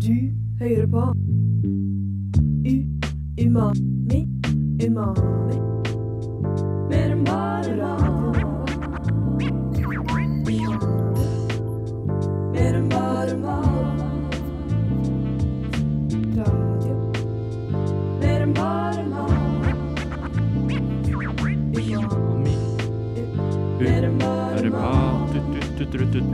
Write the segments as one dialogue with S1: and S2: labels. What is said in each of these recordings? S1: Du hører på U Umami Umami Mer enn bare mat Mer enn bare mat Radio Mer enn bare mat Umami Mer enn bare mat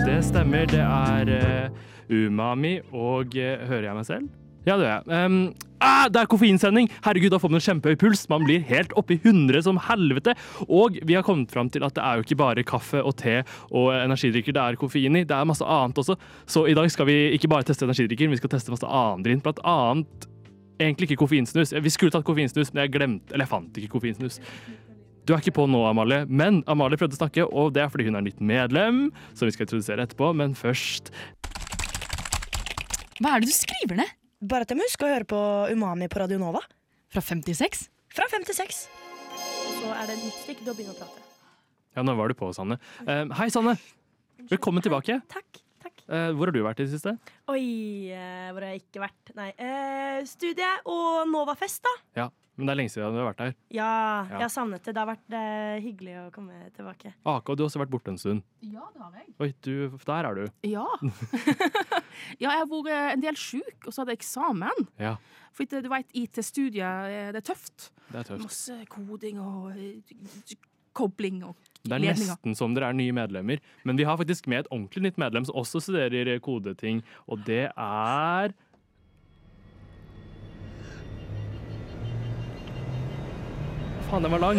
S2: Det stemmer. Det er eh, Umami. Og eh, hører jeg meg selv? Ja, det gjør jeg. Em, ah, det er koffeinsending! Herregud, da får man kjempehøy puls. Man blir helt oppe i 100 som helvete. Og vi har kommet fram til at det er jo ikke bare kaffe og te og energidrikker det er koffein i. Det er masse annet også. Så i dag skal vi ikke bare teste energidrikker, vi skal teste masse annen drink. Blant annet egentlig ikke koffeinsnus. Vi skulle tatt koffeinsnus, men jeg glemte Eller jeg fant ikke koffeinsnus. Du er ikke på nå, Amalie, men Amalie prøvde å snakke, og det er fordi hun er nytt medlem, som vi skal introdusere etterpå, men først
S3: Hva er det du skriver ned?
S4: Bare at de husker å høre på Umami på Radio Nova.
S3: Fra 56?
S4: Fra fem til seks. Og så er det et nytt stikk. Da begynner å prate.
S2: Ja, nå var du på, Sanne. Eh, hei, Sanne! Velkommen tilbake.
S5: Takk. takk.
S2: Eh, hvor har du vært i det siste?
S5: Oi, eh, hvor har jeg ikke vært? Nei. Eh, studie og Novafest, da.
S2: Ja, men det er lenge siden du har vært her.
S5: Ja,
S2: Ja.
S5: jeg har savnet det. Det har vært eh, hyggelig å komme tilbake.
S2: AK, du har også vært borte en stund.
S3: Ja, det har jeg.
S2: Oi, du, der er du.
S3: Ja. ja, jeg har vært eh, en del sjuk, og så hadde jeg eksamen.
S2: Ja,
S3: For ikke- du vet, IT-studiet, eh, det er tøft.
S2: det er tøft.
S3: Masse koding og eh, kobling og
S2: Det er
S3: ledninger.
S2: nesten som dere er nye medlemmer, men vi har faktisk med et ordentlig nytt medlem som også studerer eh, kodeting, og det er Faen, den var lang.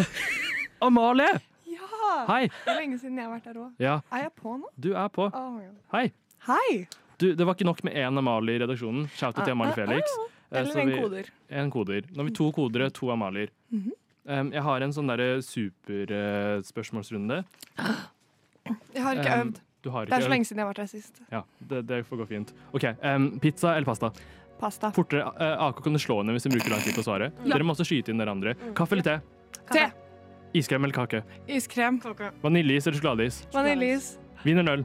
S2: Amalie!
S6: Ja!
S2: Hei!
S6: Det er lenge siden jeg har vært der òg.
S2: Ja,
S6: Er jeg på nå?
S2: du er på.
S6: Oh my God.
S2: Hei.
S6: Hei!
S2: Du, det var ikke nok med én Amalie i redaksjonen. Shout out
S6: Ah,
S2: til Amalie Felix. Eh, så
S6: Eller en
S2: vi-
S6: koder. Mhm.
S2: En koder. Nå har vi to kodere, to Amalier. Um, jeg har en sånn derre eh, superspørsmålsrunde.
S6: Jeg har ikke øvd.
S2: Du har ikke
S6: Det er så lenge siden jeg har vært der sist.
S2: Ja, det, det får gå fint. OK. Um, pizza eller pasta?
S6: Pasta.
S2: Fortere. eh, AK kan du slå henne hvis hun bruker lang tid på å svare. Dere må også skyte inn dere andre.
S6: Mm.
S2: Kaffe eller te?
S6: Te.
S2: Iskrem eller kake?
S6: Iskrem.
S2: Vaniljeis eller sjokoladeis?
S6: Vaniljeis.
S2: Vin eller øl?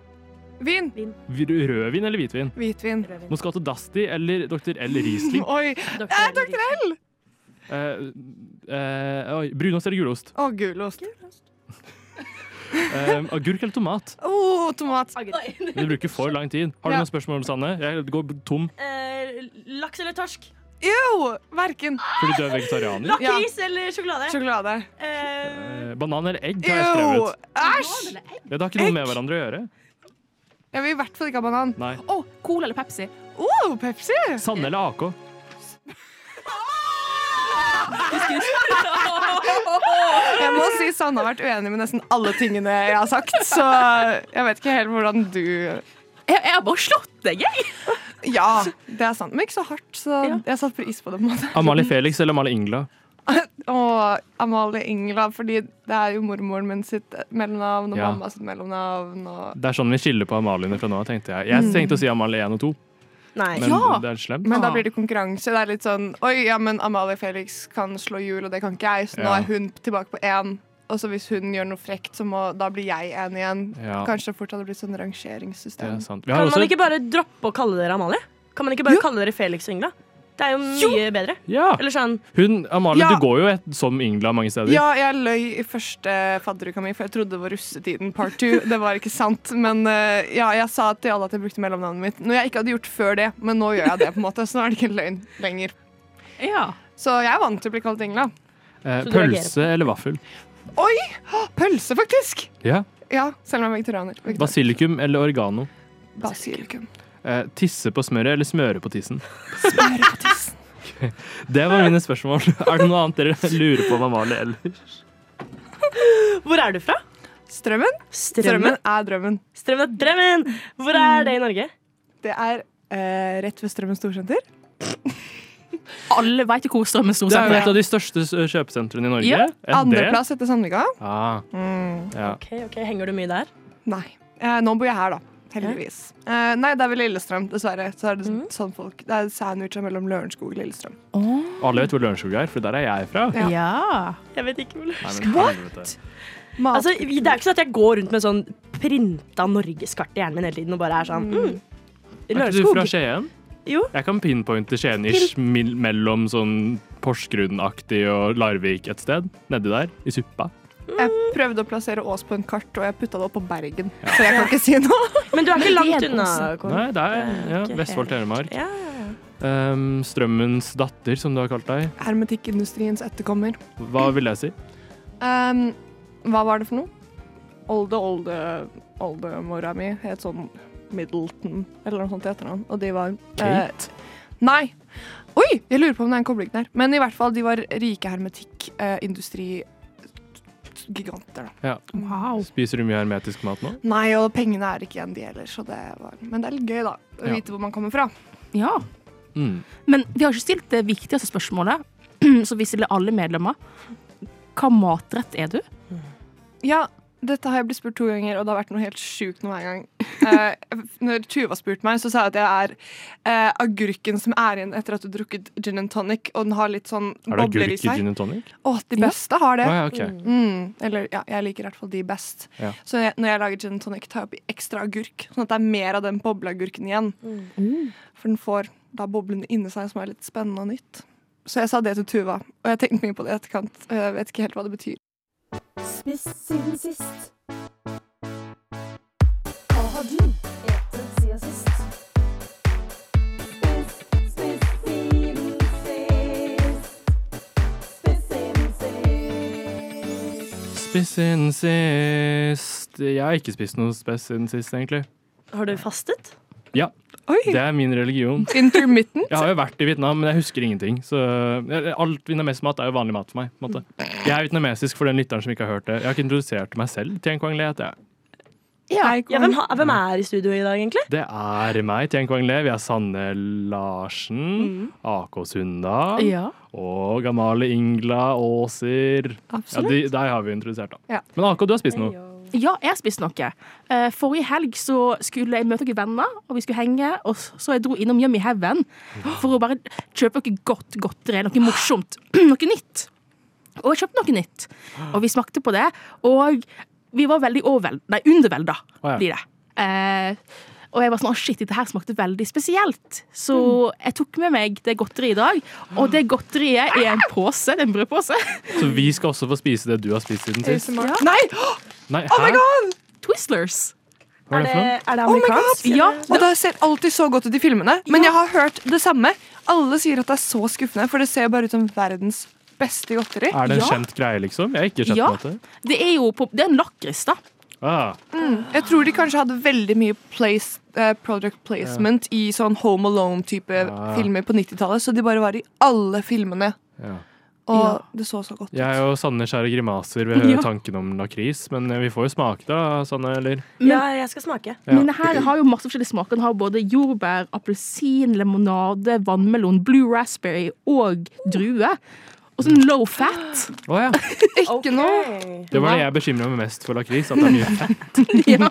S6: Vin.
S2: Vi- Rødvin eller hvitvin?
S6: Hvitvin.
S5: Rødvin.
S2: Moscato d'Asti eller Dr. L. Riesling?
S6: Oi!
S5: Doktor Henrik.
S2: Eh, eh, oi, brunost eller gulost?
S6: Og gulost.
S2: Eh, agurk eller tomat?
S6: Å, tomat.
S2: Du bruker for lang tid. Har du
S6: Ja.
S2: noen spørsmål, Sanne? Jeg går tom
S5: Eh, laks eller torsk?
S6: Jo! Verken.
S2: fordi du er vegetarianer.
S5: Lakris eller sjokolade?
S6: Sjokolade.
S5: Eh,
S2: Eh, banan eller egg har jeg
S6: Jo!
S2: skrevet.
S6: Æsj!
S2: Ja, Det har ikke noe med
S6: Egg.
S2: hverandre å gjøre.
S6: Jeg vil i hvert fall ikke ha banan.
S2: Nei.
S3: Å, Cola eller Pepsi?
S6: Å, Pepsi!
S2: Sanne eller AK?
S6: Jeg må si Sanne har vært uenig med nesten alle tingene jeg har sagt, så jeg vet ikke helt hvordan du
S3: Jeg, jeg har bare slått deg, jeg!
S6: Ja, det er sant. Men ikke så hardt, så jeg satte pris på det. på en måte.
S2: Amalie Felix eller Amalie Ingla?
S6: Og Amalie Ingla, fordi det er jo mormoren min sitt mellomnavn og
S2: Ja.
S6: mamma sitt mellomnavn. Og...
S2: Det er sånn vi skiller på Amaliene fra nå av, tenkte jeg. Jeg tenkte å si Amalie 1 og 2,
S5: nei.
S2: men
S3: Ja.
S2: det er slemt.
S6: Men da blir det konkurranse. Det er litt sånn Oi, ja, men Amalie Felix kan slå hjul, og det kan ikke jeg, så nå
S2: Ja.
S6: er hun tilbake på én. Og så hvis hun gjør noe frekt, så må, da blir jeg én igjen.
S2: Ja.
S6: Kanskje fort hadde det blitt sånn
S2: Det
S6: rangeringssystem.
S2: er sant. Vi har
S5: Kan man
S2: også
S5: ikke bare droppe å kalle dere Amalie? Kan man ikke bare kalle dere Felix og Ingla? Det er jo mye bedre.
S2: Ja!
S5: Eller sånn
S2: Hun, Amalie,
S6: Ja.
S2: du går jo et, som Ingla mange steder.
S6: Ja, jeg løy i første fadderuka mi, for jeg trodde det var russetiden part two. Det var ikke sant. Men eh, ja, jeg sa til alle at jeg brukte mellomnavnet mitt. Noe jeg ikke hadde gjort før det, men nå gjør jeg det, på en måte. Så nå er det ikke løgn lenger.
S3: Ja.
S6: Så jeg er vant til å bli kalt Ingla.
S2: Eh,
S5: Så du
S2: pølse eller vaffel?
S6: Oi! Pølse, faktisk!
S2: Ja.
S6: Ja, selv om jeg er vegetarianer. Vegetar-
S2: Basilikum eller oregano?
S6: Basilikum.
S2: Eh, tisse på smøret eller smøre på tissen?
S6: Smøre på tissen.
S2: Det var mine spørsmål. er det noe annet dere lurer på om Amalie eller?
S5: Hvor er du fra?
S6: Strømmen? Strømmen er drømmen.
S5: Strømmen er drømmen! Hvor er det i Norge?
S6: Det er eh, rett ved Strømmen storsenter.
S3: Alle veit jo hvor strømmen sto.
S2: Det er jo et
S3: seg.
S2: av de største s- eh, kjøpesentrene i Norge.
S3: Ja.
S2: Er det?
S6: Andreplass etter Sandvika.
S2: Ah,
S6: Mm.
S2: ja.
S5: Ok, ok, Henger du mye der?
S6: Nei. Eh, nå bor jeg her, da. Heldigvis. Eh, nei, det er ved Lillestrøm, dessverre. Så er det sånn folk Det er sandwicher mellom Lørenskog og Lillestrøm.
S2: Alle vet hvor Lørenskog er, for der er jeg fra.
S6: Ja.
S3: Ja.
S5: Jeg vet ikke hvor du
S2: Nei, men helvete.
S6: Mat.
S5: Altså, det er ikke sånn at jeg går rundt med sånn printa norgeskart i hjernen min hele tiden og bare er sånn mm,
S2: Er ikke du
S5: Lørenskog.
S2: fra Skien?
S5: Jo.
S2: Jeg kan pinpointe Skien-ish mil- mellom sånn Porsgrunn-aktig og Larvik et sted. Nedi der, i suppa.
S6: Jeg prøvde å plassere Ås på en kart, og jeg putta det opp på Bergen. Så jeg kan ikke si noe.
S5: Men du er ikke
S3: Men
S5: langt
S3: det er
S5: unna.
S3: Osen.
S5: Kåre.
S2: Nei, der. Ja,
S5: Ok.
S2: Vestfold, Telemark.
S5: Ja.
S2: Ehm, strømmens datter, som du har kalt deg.
S6: Hermetikkindustriens etterkommer.
S2: Hva vil jeg si?
S6: Ehm, hva var det for noe? Olde, olde, oldemora mi het sånn Middleton, eller noe sånt i etternavn. Og de var eh,
S2: Kate?
S6: Nei. Oi, jeg lurer på om det er en kobling der. Men i hvert fall, de var rike hermetikkindustrigiganter, da.
S3: Wow.
S2: Spiser du mye hermetisk mat nå?
S6: Nei, og pengene er ikke igjen, de heller. Så det var Men det er litt gøy, da. Å
S2: Ja.
S6: vite hvor man kommer fra.
S3: Ja.
S2: Mm.
S3: Men vi har ikke stilt det viktigste spørsmålet, som vi stiller alle medlemmer. Hva matrett er du?
S6: Ja, dette har jeg blitt spurt to ganger, og det har vært noe helt sjukt noe hver gang. Eh, når Tuva spurte meg, så sa jeg at jeg er eh, agurken som er igjen etter at du har drukket gin and tonic, og den har litt sånn
S2: Er det
S6: bobler i
S2: agurk i
S6: seg.
S2: gin and tonic?
S6: Å, de beste har det.
S2: Å ja, ok.
S6: Mm, eller ja, jeg liker i hvert fall de best.
S2: Ja.
S6: Så jeg, når jeg lager gin and tonic, tar jeg oppi ekstra agurk, sånn at det er mer av den bobleagurken igjen.
S5: Mm.
S6: For den får da boblene inni seg, som er litt spennende og nytt. Så jeg sa det til Tuva, og jeg tenkte mye på det i etterkant. og Jeg vet ikke helt hva det betyr.
S7: Spist siden sist. Hva har du etet siden sist? Spist, spist siden sist. Spist siden sist.
S2: Spist siden sist Jeg har ikke spist noe spes siden sist, egentlig.
S5: Har du fastet?
S2: Det
S6: Oi!
S2: er min religion.
S6: Intermittent.
S2: Jeg har jo vært i Vietnam, men jeg husker ingenting. Så eller, alt vietnamesisk mat er jo vanlig mat for meg. På en måte. Jeg er vietnamesisk for den lytteren som ikke har hørt det. Jeg har ikke introdusert meg selv. Tien Quang Le heter jeg.
S5: Ja.
S6: Hei,
S5: ja hvem, ha- hvem er i studio i dag, egentlig?
S2: Det er meg, Tien Quang Le. Vi er Sanne Larsen, AK Sunda
S3: Mm. Ja.
S2: og Gamale Ingla Aaser. Ja,
S6: Absolutt.
S2: de, der har vi introdusert, da.
S6: Ja.
S2: Men AK, du har spist noe.
S3: Ja, jeg har spist noe. Eh, Forrige helg så skulle jeg møte noen venner, og vi skulle henge. Og s- så jeg dro innom Yummy Heaven for å bare kjøpe noe godt godteri. Noe morsomt. Noe nytt. Og jeg kjøpte noe nytt. Og vi smakte på det, og vi var veldig overvelda. Nei, undervelda
S2: Å, ja.
S3: blir det. Eh, og jeg var sånn, «Å, shit, dette her smakte veldig spesielt. Så
S6: Mm.
S3: jeg tok med meg det godteriet i dag. Og det godteriet er en pose, det er en brødpose.
S2: Så vi skal også få spise det du har spist siden sist.
S6: ASMR. Nei!
S2: Nei,
S3: Oh
S2: hæ?
S3: Twizzlers.
S2: Hva er det for noe?
S5: er det
S6: Oh my
S5: amerikansk?
S6: God!
S3: Ja,
S6: Og det ser alltid så godt ut i filmene, men jeg har hørt det samme. Alle sier at det er så skuffende, for det ser bare ut som verdens beste godteri.
S2: Er det en
S3: Ja.
S2: kjent greie, liksom? Jeg har ikke skjønt
S3: Ja.
S2: på dette.
S3: Det er jo på, det er en lakris, da.
S2: Ah,
S6: Mm. Jeg tror de kanskje hadde veldig mye place, eh, product placement i sånn Home Alone-type
S2: Ja.
S6: filmer på 90-tallet, så de bare var i alle filmene.
S2: ja.
S6: Og
S3: Ja.
S6: det så så godt ut.
S2: Jeg og Sanne skjærer grimaser ved
S3: Ja.
S2: tanken om lakris, men eh, vi får jo smake det, da, Sanne. Eller?
S5: Ja, jeg skal smake.
S2: Ja.
S3: Men det her har jo masse forskjellige smaker. Den har både jordbær, appelsin, limonade, vannmelon, blue raspberry og drue. Og sånn low fat.
S2: Å ja.
S6: Ikke noe!
S2: Det var det jeg bekymra meg mest for lakris. At det er mye.
S3: Ja.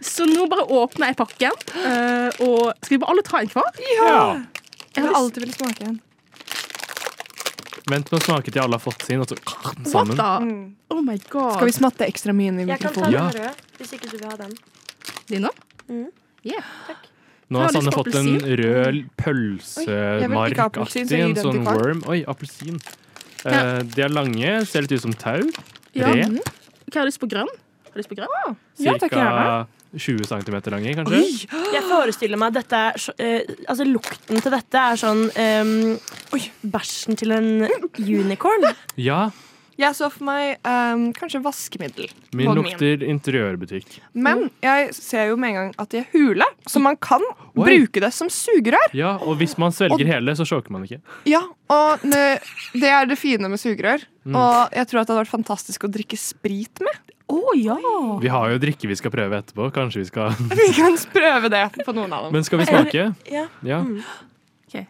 S3: Så nå bare åpner jeg pakken, eh, og skal vi bare alle ta en hver?
S2: Ja.
S6: Jeg har alltid villet smake en.
S2: Vent med å smake til alle har fått sin, og så
S3: What
S2: sammen.
S3: da?
S6: Mm.
S3: Oh my god.
S6: Skal vi smatte ekstra mye inn i
S5: Jeg kan ta den
S6: mikrofonen?
S2: Ja.
S5: røde, hvis ikke du vil ha den.
S3: Dina?
S5: Mm.
S3: Yeah.
S2: Nå har
S3: Jeg har
S2: Sanne
S3: lyst på
S2: fått en
S3: appelsin.
S2: rød
S6: Oi, jeg vil ikke ha appelsin, så
S2: pølsemarkaktig,
S6: jeg
S2: en
S6: gir den
S2: sånn
S6: til Karl.
S2: worm. Oi, appelsin. Eh, de er lange, ser litt ut som tau.
S3: Ja.
S2: Red.
S3: Hva har du lyst på grønn? Har du lyst på grønn?
S6: Ja, takk,
S2: Cirka 20 cm lange, kanskje.
S6: Oi!
S5: Jeg forestiller meg at dette er så, eh, Altså, lukten til dette er sånn ehm,
S6: Oi.
S5: Bæsjen til en unicorn.
S2: Ja,
S6: Jeg så for meg eh, kanskje vaskemiddel.
S2: min
S6: På min.
S2: lukter interiørbutikk.
S6: Men jeg ser jo med en gang at de er hule, så man kan
S2: Oi.
S6: bruke det som sugerør.
S2: Ja, og hvis man svelger hele, så sjokker man ikke.
S6: Ja, og nø- det er det fine med sugerør.
S2: Mm.
S6: Og jeg tror at det hadde vært fantastisk å drikke sprit med.
S3: Å ja.
S2: Vi har jo drikke vi skal prøve etterpå. Kanskje vi skal
S6: Vi kan prøve det på noen av dem.
S2: Men skal vi smake?
S5: Ja.
S2: Ja.
S3: Ok.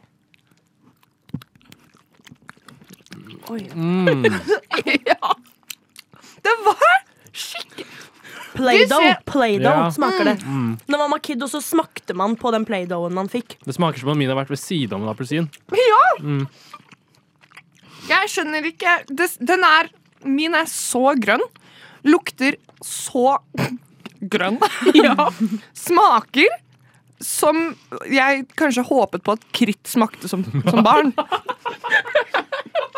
S2: Mm.
S6: Det var
S5: Play-Doh Play
S2: Ja.
S5: smaker det. Når man var kid, og så smakte man på den Play-Dohen man fikk.
S2: Det smaker som om min har vært ved siden av en appelsin.
S6: Ja!
S2: Mm.
S6: Jeg skjønner ikke det, Den er Min er så grønn. Lukter så grønn. Smaker som jeg kanskje håpet på at kritt smakte som, som barn.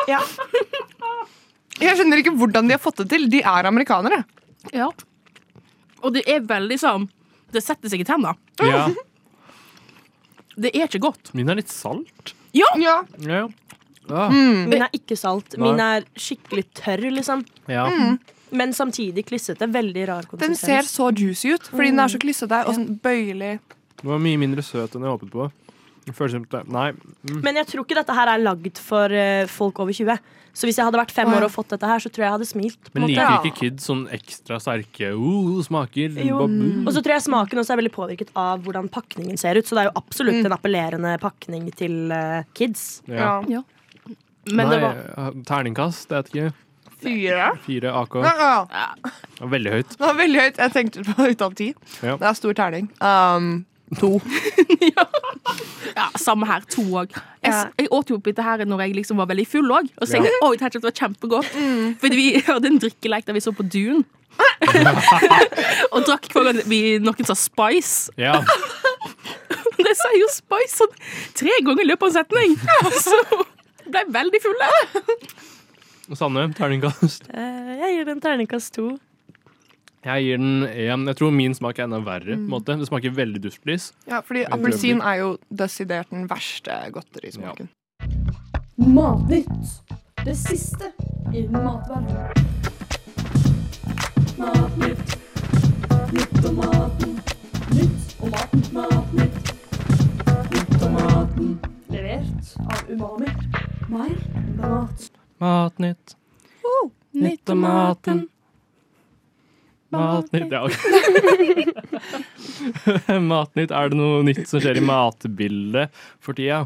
S5: Ja.
S6: Jeg skjønner ikke hvordan de har fått det til. De er amerikanere.
S3: Ja. Og det er veldig sånn Det setter seg i tenna.
S2: Ja.
S3: Det er ikke godt.
S2: Min er litt salt.
S6: Ja.
S2: Ja.
S5: Min er ikke salt. Min er skikkelig tørr, liksom.
S2: ja.
S5: Men samtidig klissete. Veldig rar
S6: Den
S5: konsistens.
S6: ser så juicy ut, fordi den er så klissete og sånn bøyelig.
S2: Den var mye mindre søt enn jeg håpet på. Det Føles som det- Nei.
S5: Men jeg tror ikke dette her er lagd for eh, folk over 20. Så hvis jeg hadde vært fem
S6: Å, ja.
S5: år og fått dette her, så tror jeg jeg hadde smilt. på en
S2: Men
S5: måte.
S2: liker ikke kids sånn ekstra sterke uh, smaker?
S5: Jo.
S2: Babu.
S5: Og så tror jeg smaken også er veldig påvirket av hvordan pakningen ser ut. Så det er jo absolutt en appellerende pakning til eh, kids.
S2: Ja.
S6: Ja.
S3: Men
S2: Nei,
S3: det var
S2: terningkast. Jeg vet ikke.
S6: Fire?
S2: Fire AK.
S6: Ja, ja.
S2: Det var Veldig høyt.
S6: Det var veldig høyt. Jeg tenkte på ut av ti.
S2: Ja.
S6: Det er stor terning. Um, to.
S3: ja, samme her. To òg. Jeg,
S5: Ja.
S3: jeg åt jo opp dette her når jeg liksom var veldig full òg. Og
S2: Ja.
S3: så tenkte jeg oi, det her kjente jeg var kjempegodt. Fordi vi hadde en drikkeleik der vi så på Dune. og drakk hver gang vi, noen sa Spice.
S2: Ja.
S3: Det sier jo Spice sånn tre ganger i løpet av en setning! Og så ble jeg veldig full.
S2: Sanne, terningkast.
S5: Eh, jeg gir den terningkast to.
S2: Jeg gir den én. Jeg tror min smak er enda verre. på en måte. Det smaker veldig dustlys.
S6: Ja, fordi appelsin er jo desidert den verste godterismaken.
S7: Matnytt. Det siste i matverdenen. Matnytt. Nytt om maten. Nytt om maten. Matnytt. Nytt om maten. Levert av Umami. Mer mat.
S2: Matnytt. Nytt om maten. Matnytt ja, ok. Matnytt, er det noe nytt som skjer i matbildet for tida?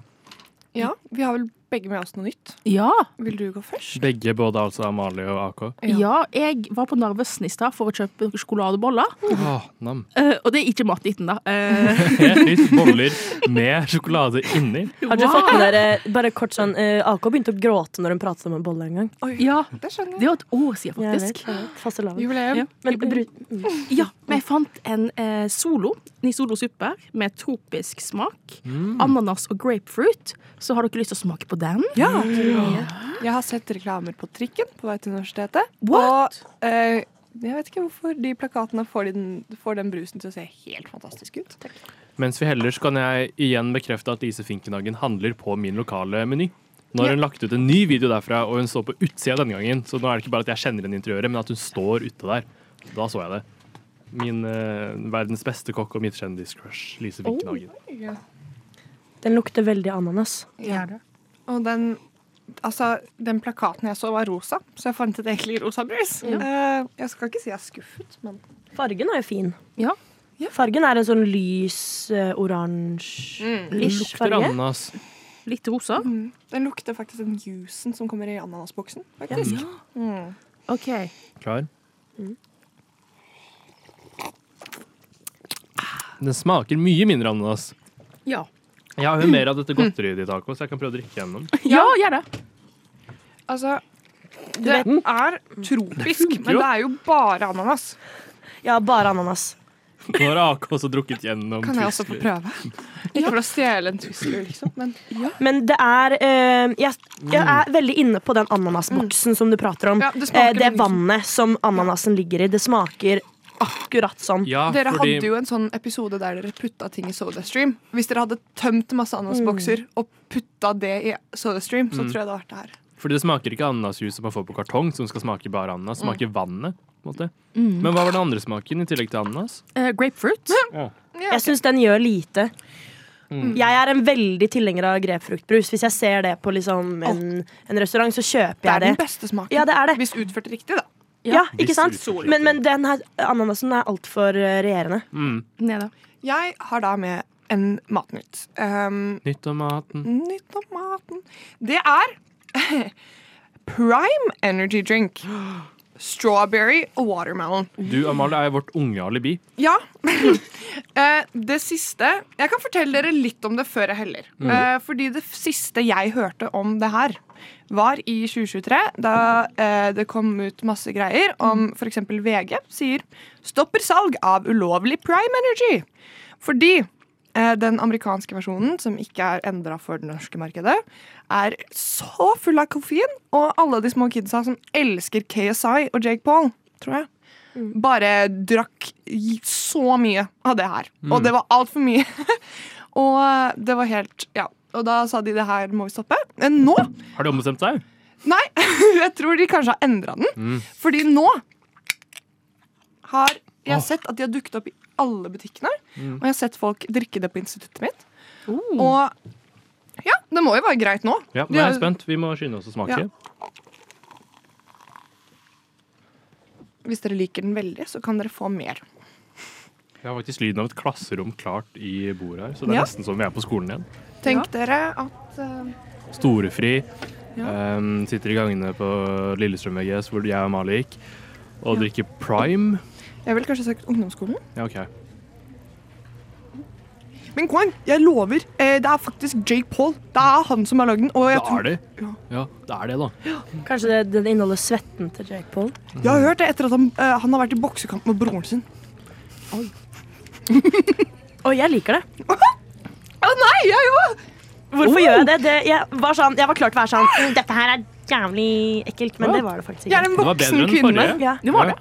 S6: Ja, vi har vel begge med oss noe nytt.
S3: Ja,
S6: Vil du gå først?
S2: Begge, både altså Amalie og AK.
S3: ja, jeg var på Narvesen i stad for å kjøpe sjokoladeboller.
S2: Åh, nam.
S3: Eh, og det er ikke matnytten, da. Eh,
S2: Helt nytt boller med sjokolade inni.
S5: Har dere fått med dere bare kort sånn eh, AK begynte å gråte når hun pratet om en bolle en gang.
S3: ja,
S6: Det skjønner
S3: det
S6: jeg.
S3: var et år siden,
S5: Jeg vet,
S3: faktisk.
S5: jeg vet. Fastelavn.
S6: Jubileum.
S5: Men bru
S3: Ja, men jeg fant en eh, solo, en solo super med tropisk smak. Ananas og grapefruit. Så har dere lyst til å smake på den?
S6: Ja. Jeg har sett reklamer på trikken på vei til universitetet.
S3: What?
S6: Og eh, jeg vet ikke hvorfor de plakatene får den, får den brusen til å se helt fantastisk ut.
S2: Mens vi heller så kan jeg igjen bekrefte at Lise Finkenhagen handler på min lokale meny. Når hun lagt ut en ny video derfra, og hun står på utsida denne gangen, så nå er det ikke bare at jeg kjenner henne i interiøret, men at hun står ute der. Da så jeg det. Min eh, verdens beste kokk og mitt kjendiscrush, Lise
S6: Oh,
S2: Finkenhagen.
S5: den lukter veldig ananas.
S6: Og den, altså, den plakaten jeg så, var rosa, så jeg fant et egentlig rosa brus. Eh, jeg skal ikke si jeg er skuffet, men
S5: Fargen er jo fin.
S3: Ja.
S5: Fargen er en sånn lys eh,
S6: Mm.
S5: oransje-ish
S2: Lukter
S5: farge.
S2: ananas.
S3: Litt rosa.
S6: den lukter faktisk den juicen som kommer i ananasboksen. faktisk. Mm.
S3: OK.
S2: Klar? Den smaker mye mindre ananas.
S3: Ja.
S2: Jeg
S6: Mm.
S2: har jo mer av dette godteriet ditt, Taco, så jeg kan prøve å drikke gjennom.
S3: Ja, gjør det.
S6: Altså, det er tropisk, men det er jo bare ananas.
S5: Ja, bare ananas.
S2: Nå har AK også drukket gjennom.
S6: Kan jeg også få
S2: Twister.
S6: prøve? Ikke for å stjele en twister, liksom, men ja.
S5: Men det er eh, jeg, jeg er veldig inne på den ananasboksen som du prater om.
S6: Mm. Ja, det smaker
S5: Eh, det
S6: veldig-
S5: vannet som ananasen ligger i. Det smaker akkurat sånn.
S2: Ja,
S6: Dere
S2: fordi
S6: hadde jo en sånn episode der dere putta ting i SodaStream. Hvis dere hadde tømt masse ananasbokser og putta det i SodaStream, så tror jeg det hadde vært det her.
S2: Fordi det smaker ikke ananasjuice som man får på kartong, som skal smake bare ananas. Det
S6: Mm.
S2: smaker vannet. på en måte. Men hva var den andre smaken i tillegg til ananas?
S3: Eh, grapefruit.
S5: Jeg syns den gjør lite.
S6: Mm.
S5: Jeg er en veldig tilhenger av grepfruktbrus. Hvis jeg ser det på liksom en, en restaurant, så
S6: Det
S5: kjøper
S6: er den
S5: jeg det.
S6: beste smaken.
S5: Ja, det er det.
S6: Hvis utført riktig, da.
S5: Ja, ikke
S2: Hvis
S5: sant?
S2: utført riktig.
S5: Men, men den her ananasen er altfor eh, regjerende.
S3: Nede.
S6: Jeg har da med en matnytt. Um,
S2: Nytt om maten.
S6: nytt om maten Det er Prime Energy Drink. Strawberry og watermelon.
S2: Du, Amalie, er vårt unge alibi.
S6: Ja. Eh, det siste Jeg kan fortelle dere litt om det før jeg heller. Eh, Fordi det f- siste jeg hørte om det her, var i 2023, da eh, det kom ut masse greier om f.eks. VG sier 'stopper salg av ulovlig prime energy'. Fordi Eh, Den amerikanske versjonen, som ikke er endra for det norske markedet, er så full av koffein, og alle de små kidsa som elsker KSI og Jake Paul, tror jeg, bare drakk i- så mye av det her. Og det var altfor mye. og eh, det var helt Ja. Og da sa de det her må vi stoppe. Men nå
S2: Har de ombestemt seg?
S6: Nei, jeg tror de kanskje har endra den. Fordi nå har jeg
S2: Åh.
S6: sett at de har dukket opp i alle butikkene. Og jeg har sett folk drikke det på instituttet mitt.
S3: Oh. Mm.
S6: Og ja, det må jo være greit nå.
S2: Ja, nå
S6: De
S2: er
S6: har-
S2: jeg spent. Vi må skynde oss å smake.
S6: Ja. Hvis dere liker den veldig, så kan dere få mer.
S2: Jeg har faktisk lyden av et klasserom klart i bordet her, så det er
S6: Ja.
S2: nesten som vi er på skolen igjen.
S6: Tenk dere at eh,
S2: Storefri.
S6: Ja.
S2: ehm, sitter i gangene på Lillestrøm VGS, hvor jeg og Mali gikk, og drikker prime.
S6: Jeg ville kanskje sagt ungdomsskolen.
S2: Ja, OK.
S6: Men Kwan, jeg lover, eh, det er faktisk Jake Paul. Det er han som har lagd den. Og jeg,
S2: Da
S6: tror,
S2: er det.
S6: Ja.
S2: Ja, det er det, da.
S5: Kanskje det, den inneholder svetten til Jake Paul?
S6: jeg har hørt det etter at han, eh, han har vært i boksekamp med broren sin.
S5: Å, jeg liker det.
S6: Å nei, jeg òg!
S5: Hvorfor gjør jeg det? det jeg, var sånn, jeg var klar til å være sånn Dette her er jævlig ekkelt, men det var det faktisk
S6: Jeg er
S5: ikke.
S6: en
S2: Det var bedre
S6: voksen
S2: enn den
S6: kvinne.
S2: forrige.
S5: Ja.
S3: Det var det.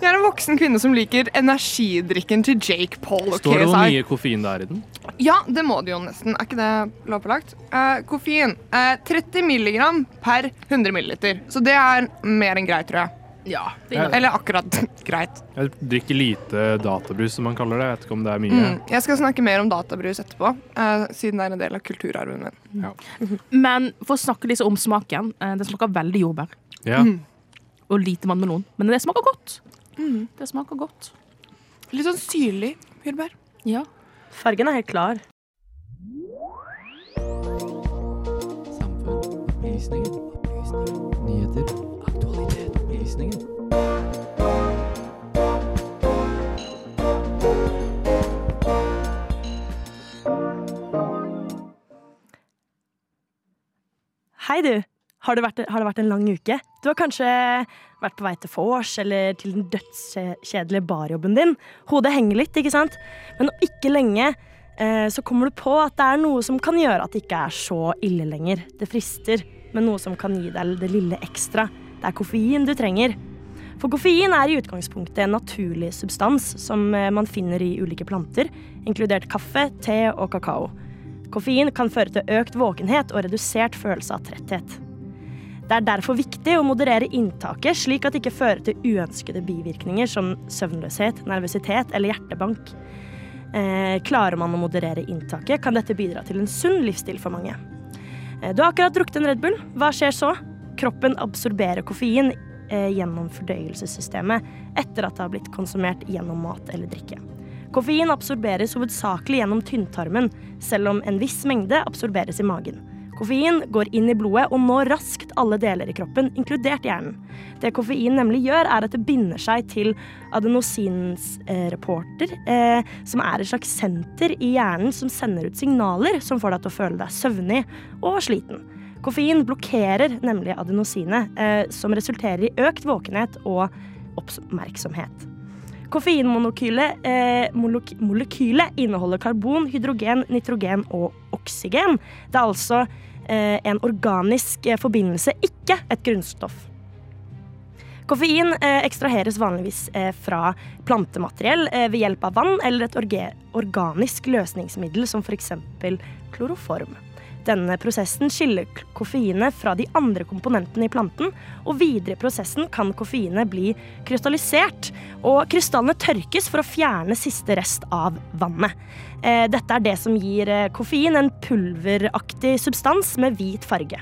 S6: Jeg er en voksen kvinne som liker energidrikken til Jake Paul. og
S2: Står det hvor
S6: KSI.
S2: mye koffein det er i den?
S6: Ja, det må det jo nesten. Er ikke det lovpålagt? Eh, koffein. eh, 30 milligram per 100 milliliter. Så det er mer enn greit, tror jeg.
S3: Ja, det
S2: Ja.
S6: Eller akkurat greit.
S2: Jeg drikker lite databrus, som man kaller det. Jeg vet ikke om det er mye.
S6: Mm. Jeg skal snakke mer om databrus etterpå, eh, siden det er en del av kulturarven min.
S3: Men for å snakke litt om smaken. eh, Den smaker veldig jordbær.
S2: Ja.
S3: Og lite vannmelon. Men det smaker godt. Det smaker godt.
S6: Litt sånn syrlig jordbær.
S3: Ja.
S5: Fargen er helt klar.
S1: Samfunn. Opplysninger. Opplysninger. Nyheter. Aktualitet. Opplysninger.
S5: Hei, du. Har det, vært, har det vært en lang uke? Du har kanskje vært på vei til vors eller til den dødskjedelige barjobben din. Hodet henger litt, ikke sant? Men om ikke lenge eh, så kommer du på at det er noe som kan gjøre at det ikke er så ille lenger. Det frister, men noe som kan gi deg det lille ekstra. Det er koffein du trenger. For koffein er i utgangspunktet en naturlig substans som eh, man finner i ulike planter, inkludert kaffe, te og kakao. Koffein kan føre til økt våkenhet og redusert følelse av tretthet. Det er derfor viktig å moderere inntaket slik at det ikke fører til uønskede bivirkninger som søvnløshet, nervøsitet eller hjertebank. Eh, klarer man å moderere inntaket, kan dette bidra til en sunn livsstil for mange. Eh, du har akkurat drukket en Red Bull. Hva skjer så? Kroppen absorberer koffein eh, gjennom fordøyelsessystemet etter at det har blitt konsumert gjennom mat eller drikke. Koffein absorberes hovedsakelig gjennom tynntarmen, selv om en viss mengde absorberes i magen. Koffein går inn i blodet og når raskt alle deler i kroppen, inkludert hjernen. Det koffein nemlig gjør, er at det binder seg til adenosins eh, reporter, eh, som er et slags senter i hjernen som sender ut signaler som får deg til å føle deg søvnig og sliten. Koffein blokkerer nemlig adenosinet, eh, som resulterer i økt våkenhet og oppmerksomhet. Koffeinmonokylet eh, molok- molekylet inneholder karbon, hydrogen, nitrogen og oksygen. Det er altså eh, en organisk eh, forbindelse, ikke et grunnstoff. Koffein eh, ekstraheres vanligvis eh, fra plantemateriell eh, ved hjelp av vann eller et orge organisk løsningsmiddel som f.eks. kloroform. Denne prosessen skiller k- koffeinet fra de andre komponentene i planten, og videre i prosessen kan koffeinet bli krystallisert, og krystallene tørkes for å fjerne siste rest av vannet. Eh, Dette er det som gir eh, koffein en pulveraktig substans med hvit farge.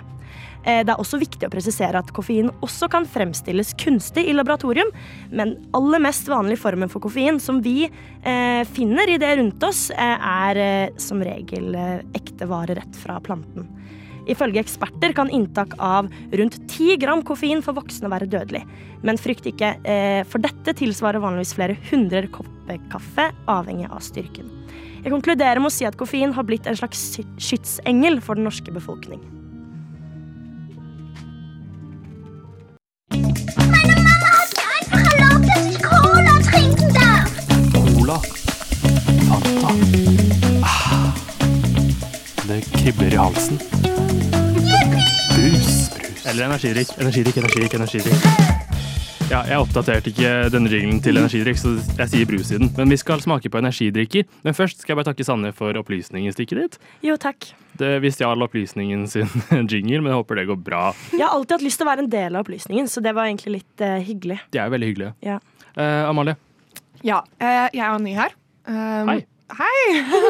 S5: Eh, Det er også viktig å presisere at koffein også kan fremstilles kunstig i laboratorium, men aller mest vanlige formen for koffein som vi eh, finner i det rundt oss, eh, er eh, som regel eh, ekte vare rett fra planten. Ifølge eksperter kan inntak av rundt 10 gram koffein for voksne være dødelig. Men frykt ikke, eh, for dette tilsvarer vanligvis flere hundre kopper kaffe, avhengig av styrken. Jeg konkluderer med å si at koffein har blitt en slags sky- skytsengel for den norske befolkning.
S2: Cola. Fanta. Ah. kribler i halsen. Brus, brus. Eller energidrikk. Energidrikk, energidrikk, energidrikk. Ja, jeg oppdaterte ikke denne regelen til energidrikk, så jeg sier brus i den. Men vi skal smake på energidrikker. Men først skal jeg bare takke Sanne for opplysningen stikket ditt.
S5: Jo, takk.
S2: Det, vi stjal opplysningen sin jingle, men jeg håper det går bra.
S5: Jeg har alltid hatt lyst til å være en del av opplysningen, så det var egentlig litt eh, hyggelig.
S2: De er jo veldig hyggelige.
S5: Ja.
S2: Eh, Amalie,
S6: Ja, eh, jeg er ny her. Um,
S2: Hei.
S6: Hei!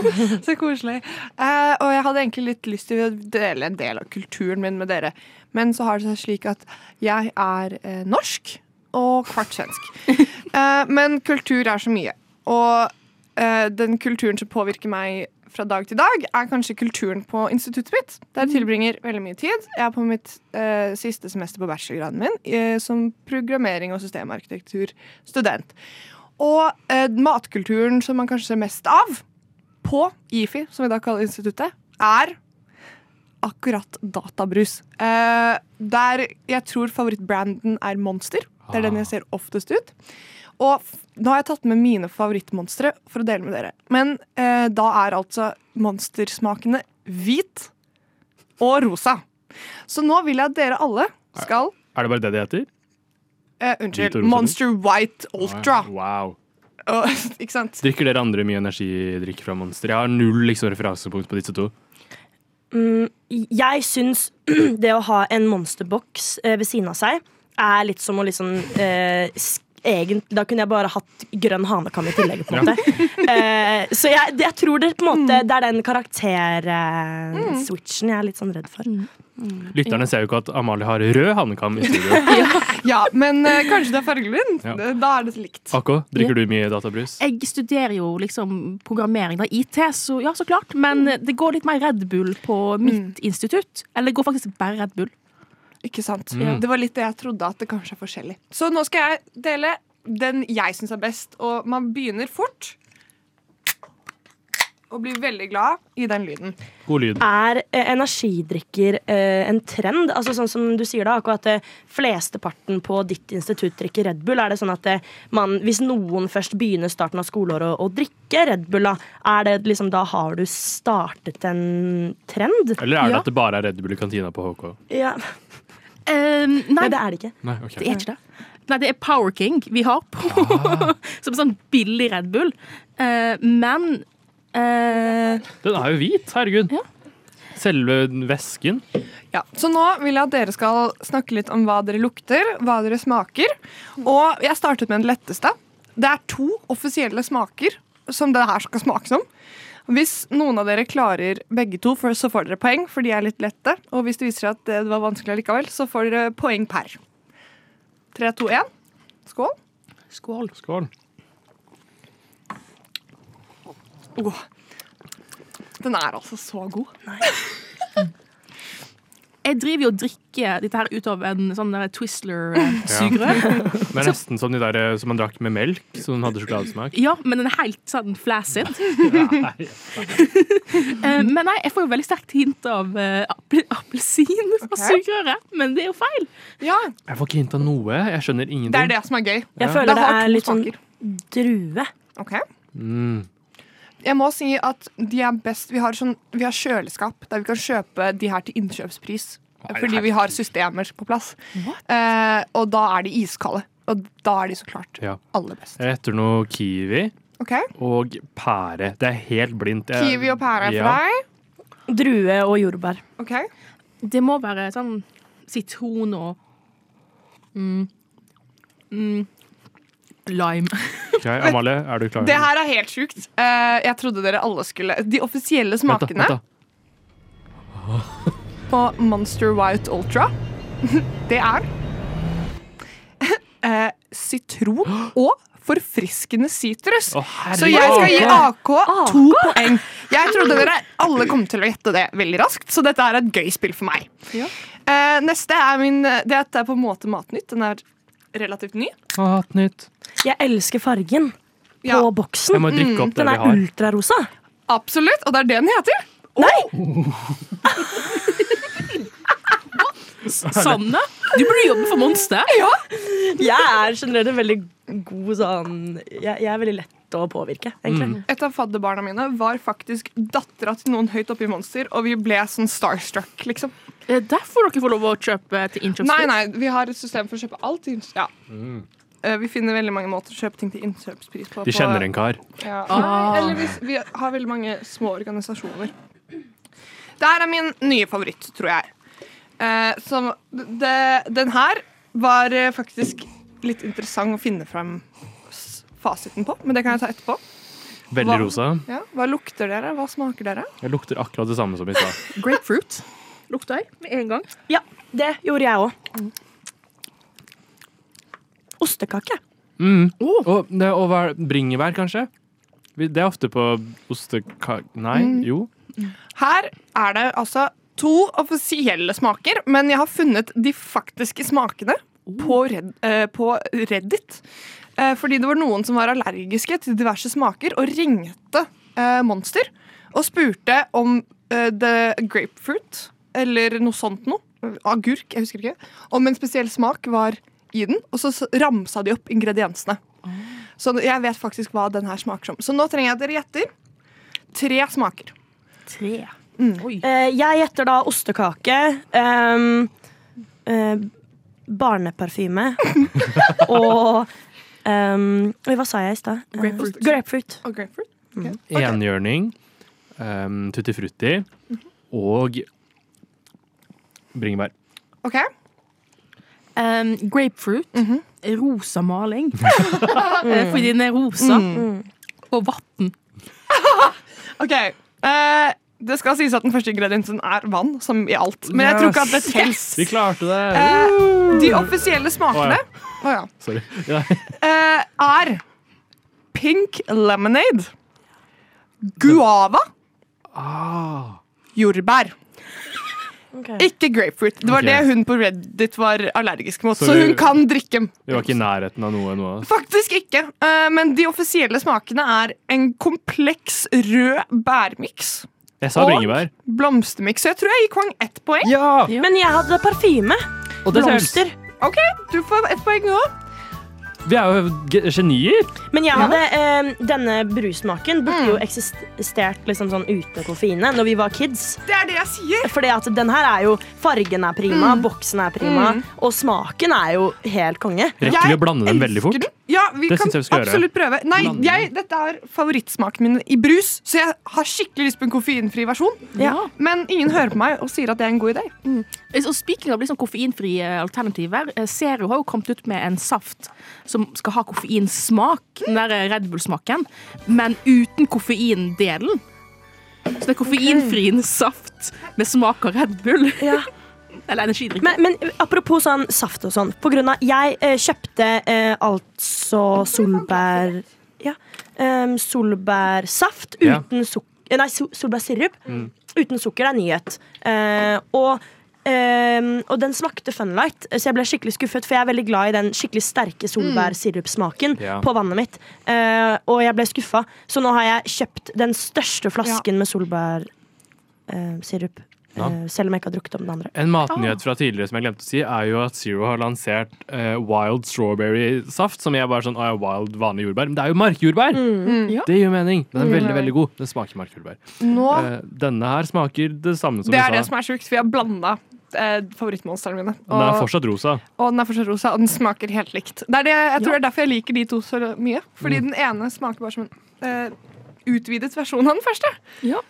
S6: Så koselig. Eh, og jeg hadde egentlig litt lyst til å dele en del av kulturen min med dere. Men så har det seg slik at jeg er eh, norsk og kvart svensk. Eh, men kultur er så mye. Og eh, den kulturen som påvirker meg fra dag til dag, er kanskje kulturen på instituttet mitt. Der jeg tilbringer veldig mye tid. Jeg er på mitt eh, siste semester på bachelorgraden min eh, som programmering og systemarkitekturstudent. Og eh, matkulturen som man kanskje ser mest av på IFI, som vi da kaller instituttet, er akkurat databrus. Eh, der jeg tror favorittbranden er Monster. Det er den
S2: Ah.
S6: jeg ser oftest ut. Og f nå har jeg tatt med mine favorittmonstre for å dele med dere. Men eh, da er altså monstersmakene hvit og rosa. Så nå vil jeg at dere alle skal
S2: er det bare det de heter?
S6: eh,
S2: Hvit og
S6: Unnskyld.
S2: rosa?
S6: Monster White Ultra.
S2: Wow.
S6: Og, ikke sant?
S2: Drikker dere andre mye energidrikk fra Monster? Jeg har null liksom, referansepunkt på disse to.
S5: Mm, jeg syns det å ha en monsterboks eh, ved siden av seg er litt som å liksom eh, sk- Egent, da kunne jeg bare hatt grønn hanekam i tillegg. på en
S2: Ja.
S5: måte eh, Så jeg, det- jeg tror det på en måte Det er den karakter-switchen jeg er litt sånn redd for.
S2: Lytterne ser jo ikke at Amalie har rød hanekam i studio.
S6: Ja, men eh, kanskje det er fargelund?
S2: Ja.
S6: Da er det likt.
S2: Akko, drikker du mye databrus?
S3: Jeg studerer jo liksom programmering, da, IT, så ja, så klart. Men det går litt mer Red Bull på mitt institutt. Eller det går faktisk bare Red Bull.
S6: Ikke sant?
S2: Mm.
S6: Det var litt det jeg trodde, at det kanskje er forskjellig. Så nå skal jeg dele den jeg syns er best, og man begynner fort. Og blir veldig glad i den lyden.
S2: God lyd.
S5: Er eh, energidrikker eh, en trend? Altså sånn som du sier da, akkurat at eh, Flesteparten på ditt institutt drikker Red Bull. Er det sånn at eh, man, Hvis noen først begynner starten av skoleåret å, å drikke Red Bull, da, er det liksom, da har du startet en trend?
S2: Eller er det
S3: Ja.
S2: at det bare er Red Bull i kantina på HK?
S5: Ja.
S3: Eh, nei,
S5: Nei, det er det ikke.
S2: Nei, ok.
S3: det er ikke det. Nei, det er Power King vi har på. Som en sånn billig Red Bull. Eh, men eh,
S2: Den er jo hvit, herregud.
S3: Ja.
S2: Selve væsken.
S6: Ja, Så nå vil jeg at dere skal snakke litt om hva dere lukter, hva dere smaker. Og jeg startet med den letteste. Det er to offisielle smaker som det her skal smake som. Hvis noen av dere klarer begge to, for- så får dere poeng, for de er litt lette. Og hvis det viser seg at det var vanskelig likevel, så får dere poeng per. Tre, to, én. Skål.
S3: Skål.
S2: Skål.
S6: Åh. Den er altså så god.
S3: Jeg driver jo og drikker dette her ut av en sånn der Twistler-sugerør.
S2: Det er nesten som de der eh, som man drakk med melk, som hadde sjokoladesmak.
S3: Ja, men den er helt sånn flaccid. Eh, men nei, jeg får jo veldig sterkt hint av eh, apel- appelsin fra sugerøret, men det er jo feil.
S6: Ja,
S2: Jeg får ikke hint av noe. Jeg skjønner ingenting.
S6: Det er det som er gøy.
S5: Jeg
S2: Ja.
S5: føler
S6: Det
S5: det,
S6: har
S5: er
S6: to
S5: litt sånn
S6: smaker.
S5: drue.
S6: Ok.
S2: Mm.
S6: Jeg må si at de er best Vi har, sånn, vi har kjøleskap der vi kan kjøpe de her til innkjøpspris.
S2: Nei,
S6: Fordi vi har systemer på plass. Eh, og da er de iskalde. Og da er de så klart
S2: Ja.
S6: aller best.
S2: Jeg heter noe kiwi
S6: Ok,
S2: og pære. Det er helt blindt. Jeg-
S6: Kiwi og pære er for
S2: Ja.
S6: deg.
S5: Drue og jordbær.
S6: Ok,
S3: Det må være sånn sitron og mm, mm, lime.
S2: Ok, Amalie, er du klar?
S6: Det her er helt sjukt. Eh, jeg trodde dere alle skulle De offisielle smakene
S2: Vent da, vent da.
S6: på Monster White Ultra, det er eh, sitron og forfriskende sitrus.
S2: Å,
S6: Så jeg skal gi
S2: herregud.
S6: AK to poeng. Jeg trodde dere alle kom til å gjette det veldig raskt, så dette er et gøy spill for meg. Eh, neste er min Dette er på en måte Matnytt. Den er relativt ny.
S2: Matnytt.
S5: Jeg elsker fargen på
S6: Ja,
S2: Jeg
S5: boksen.
S2: må drikke opp det
S5: Mm, Den
S2: vi
S5: er
S2: har.
S5: ultrarosa.
S6: absolutt. Og det er det den heter.
S3: Sanne, du burde jobbe for Monster.
S5: Jeg er generelt en veldig god sånn Jeg, jeg er veldig lett lett å påvirke,
S2: Mm.
S5: egentlig.
S6: Et av fadderbarna mine var faktisk dattera til noen høyt oppe i Monster, og vi ble sånn starstruck, liksom.
S3: Det er derfor dere får lov å kjøpe til innkjøpspris.
S6: Nei, nei, vi har et system for å kjøpe alt. i innkjø- Ja. Eh, Vi finner veldig mange måter å kjøpe ting til innkjøpspris på.
S2: De
S6: på-
S2: kjenner en kar.
S6: Ja. Nei, eller hvis vi har veldig mange små organisasjoner. Der er min nye favoritt, tror jeg. Eh, som det, den her var eh, faktisk litt interessant å finne frem s- fasiten på, men det kan jeg ta etterpå.
S2: Veldig
S6: Hva?
S2: rosa.
S6: Ja. Hva lukter dere? Hva smaker dere?
S2: Jeg lukter akkurat det samme som i stad.
S3: Grapefruit lukter jeg med en gang.
S5: Ja, det gjorde jeg òg. Ostekake.
S2: Mm. Og, det, og hva er det? bringebær, kanskje? Vi- Det er ofte på ostekake... Nei, jo.
S6: Her er det altså to offisielle smaker, men jeg har funnet de faktiske smakene på, Red, eh, på Reddit. Eh, fordi det var noen som var allergiske til diverse smaker, og ringte eh, Monster og spurte om eh, the grapefruit eller noe sånt noe. Agurk, jeg husker ikke. Om en spesiell smak var i den, og så s- ramsa de opp ingrediensene. Så jeg vet faktisk hva den her smaker som. Så nå trenger jeg at dere gjetter tre smaker.
S3: Tre.
S5: Eh, jeg gjetter da ostekake, ehm, eh, barneparfyme og ehm, Oi, hva sa jeg i stad? Eh,
S6: Grapefruit.
S5: grapefruit.
S6: Og grapefruit?
S2: Enhjørning, um, tutti frutti og bringebær.
S6: Ok,
S3: Um, grapefruit.
S6: Mm. Mhm.
S3: Rosa maling. Eh, Fordi den er rosa.
S6: Mm. Mhm.
S5: Mm.
S3: Og vann.
S6: ok eh, Det skal sies at den første ingrediensen er vann, som i alt. Men jeg tror ikke at det tels.
S2: Vi klarte det!
S6: Eh, de offisielle smakene Å ja.
S2: Sorry. Ja.
S6: Eh, er pink lemonade, guava,
S2: Ah.
S6: jordbær. Ikke grapefruit. Det var
S2: Ok.
S6: det hun på Reddit var allergisk mot.
S2: Så
S6: Så, hun
S2: du-
S6: kan drikke den.
S2: Vi var ikke i nærheten av noe nå. ass.
S6: Faktisk ikke. eh, men de offisielle smakene er en kompleks rød bærmiks,
S2: Jeg sa
S6: Og-
S2: bringebær.
S6: blomstermiks. Så jeg tror jeg gikk Hwang ett poeng.
S2: Ja!
S5: Men jeg hadde parfyme.
S2: Og det tels.
S5: Blomster.
S6: Ok, du får ett poeng nå.
S2: Vi er jo ge- genier.
S5: Men jeg hadde ehm, denne brussmaken burde jo eksistert liksom sånn uten koffeine når vi var kids.
S6: Det er det jeg sier.
S5: Fordi at den her er jo Fargen er prima, boksen er prima, og smaken er jo helt konge.
S2: Rekker vi å blande dem veldig fort?
S6: Den. Ja, vi
S2: Det
S6: kan
S2: synes jeg vi skal gjøre.
S6: absolutt prøve. Nei,
S2: Blande
S6: jeg, Dette er favorittsmaken min i brus, så jeg har skikkelig lyst på en koffeinfri versjon.
S5: Ja.
S6: Men ingen hører på meg og sier at det er en god idé.
S3: Og Speaking av liksom koffeinfrie alternativer, eh, Zero har jo kommet ut med en saft som skal ha koffeinsmak, den der eh, Red Bull-smaken, men uten koffeindelen. Så det er koffeinfri saft med smak av Red Bull.
S5: Ja.
S3: Eller energidrikk.
S5: Men, men apropos sånn saft og sånn. På grunn av Jeg eh, kjøpte eh, altså solbær... Ja. ehm, solbærsaft
S2: Ja.
S5: uten sukker Nei, so solbærsirup uten sukker. Det er nyhet. Eh, og ehm, og den smakte Funlight, så jeg ble skikkelig skuffet. For jeg er veldig glad i den skikkelig sterke solbærsirupsmaken
S2: Ja.
S5: på vannet mitt. Eh, og jeg ble skuffa, så nå har jeg kjøpt den største flasken med solbærsirup.
S2: Ja.
S5: eh, selv om jeg ikke har drukket om den andre.
S2: En
S6: Ah.
S2: matnyhet fra tidligere som jeg glemte å si, er jo at Zero har lansert eh, wild strawberry-saft, som jeg bare sånn, ah, ja, wild vanlig jordbær. Men det er jo
S6: Mm.
S2: markjordbær! Det gir jo mening. Den er veldig, veldig god. Den smaker markjordbær.
S6: Nå,
S2: Eh, denne her smaker det samme som
S6: Det
S2: vi
S6: er det
S2: sa.
S6: som er sjukt, for jeg har blanda eh, favorittmonstrene mine.
S2: Den er
S6: Og,
S2: fortsatt rosa.
S6: og den er fortsatt rosa, og den smaker helt likt. Det er det, jeg tror det er derfor jeg liker de to så mye.
S2: Mm.
S6: Fordi den ene smaker bare som en eh, utvidet versjon av den første.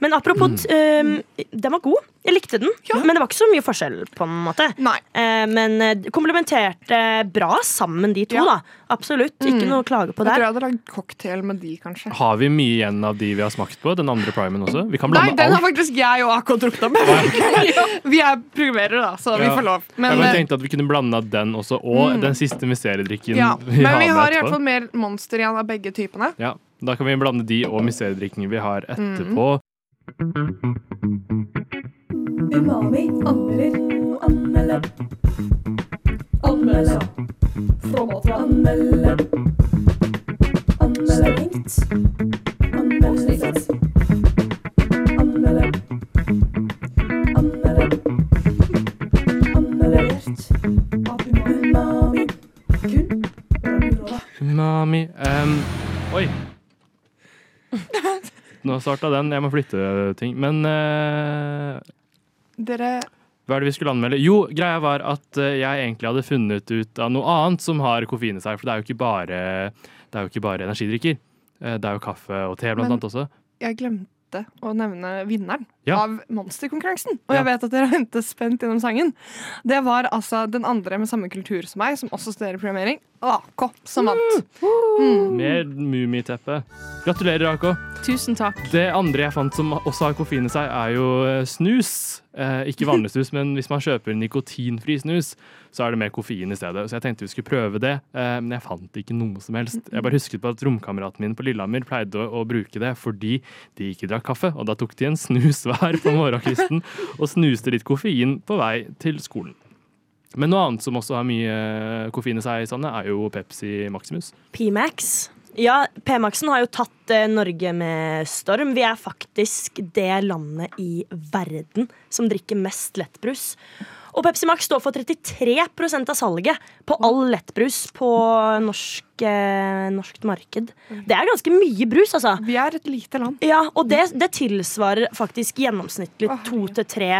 S5: Men
S2: Mm.
S5: apropos, eh, den var god. Jeg likte den, men det var ikke så mye forskjell. på en måte.
S6: Nei.
S5: Eh, men eh, komplementerte bra sammen, de to.
S6: Ja.
S5: da. Absolutt. Ikke noe å klage på
S6: Jeg
S5: der.
S6: tror jeg hadde lagd cocktail med de, kanskje.
S2: Har vi mye igjen av de vi har smakt på? Den andre primen også? Vi kan
S6: Nei,
S2: blande
S6: den har
S2: alt.
S6: faktisk jeg og AK drukket opp. vi er programmerere, da, så vi
S2: Ja.
S6: får lov.
S2: Ja, men
S6: Men,
S2: jeg
S6: eh, Mm.
S2: tenkte at vi kunne blande av den også, og den siste mysteriedrikken.
S6: ja.
S2: vi
S6: men vi
S2: med
S6: har i hvert
S2: etterpå.
S6: fall mer monster igjen av begge typene.
S2: Ja, Da kan vi blande de og mysteriedrikken vi har
S6: Mm.
S2: etterpå.
S7: Umami anmelder. Anmelde. Anmelde. Anmelde. Anmelde. Stengt. Anmelde. Stengt. Anmelde. Anmelde. Anmelde. Anmelde. Umami. Kun. Radiorådet.
S2: mi. Em, oi. Nå starta den. Jeg må flytte ting. Men eh,
S6: Dere
S2: hva er det vi skulle anmelde? Jo, greia var at eh, jeg egentlig hadde funnet ut av noe annet som har koffein i seg. For det er jo ikke bare, det er jo ikke bare energidrikker. Eh, Det er jo kaffe og te blant
S6: Men-
S2: annet også.
S6: jeg glemte å nevne vinneren
S2: Ja.
S6: av monsterkonkurransen. Og
S2: Ja.
S6: jeg vet at dere venter spent gjennom sangen. Det var altså den andre med samme kultur som meg, som også studerer programmering, AK, som vant.
S2: Mer mummiteppe. Gratulerer, AK.
S3: Tusen takk.
S2: Det andre jeg fant som også har koffein i seg, er jo eh, snus. Eh, ikke vanlig snus, men hvis man kjøper nikotinfri snus, så er det mer koffein i stedet. Så jeg tenkte vi skulle prøve det, eh, men jeg fant ikke noe som helst. Jeg bare husket på at romkameraten min på Lillehammer pleide å, å bruke det fordi de ikke drakk kaffe, og da tok de en snus hver på morgenkvisten og snuste litt koffein på vei til skolen. Men noe annet som også har mye eh, koffein i seg, Sanne, er jo Pepsi Maximus.
S5: P-Max. Ja, P-Maxen har jo tatt eh, Norge med storm. Vi er faktisk det landet i verden som drikker mest lettbrus. Og Pepsi Max står for 33 av salget på all lettbrus på norsk, eh, norskt marked. Det er ganske mye brus, altså.
S6: Vi er et lite land.
S5: Ja, og det, det tilsvarer faktisk gjennomsnittlig
S6: Å, herregud.
S5: to til tre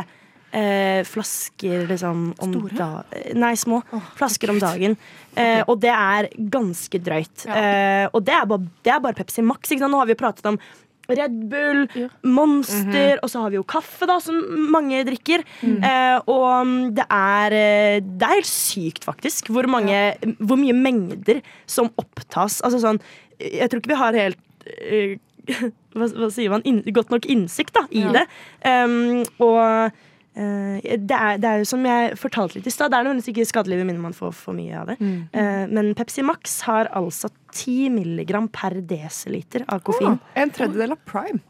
S5: eh, flasker liksom, om
S6: Store?
S5: da- eh, Nei, små. flasker om dagen. Eh, og det er ganske drøyt. Eh, og det er, bare, det er bare Pepsi Max. Ikke sant? Nå har vi jo pratet om Red Bull, Monster,
S6: Mhm.
S5: og så har vi jo kaffe, da, som mange drikker. Eh, og mm, det er, eh, det er helt sykt, faktisk, hvor, mange, hvor mye mengder som opptas. Altså sånn Jeg tror ikke vi har helt eh, hva, hva sier man? Inn, godt nok innsikt da, i det. Um, og eh, det, er, det er jo som jeg fortalte litt i stad, det er nødvendigvis ikke skadelig med mindre man får for mye av det.
S6: Mm.
S5: Eh, men Pepsi Max har altså 10 milligram per desiliter av koffein.
S6: En tredjedel av Prime.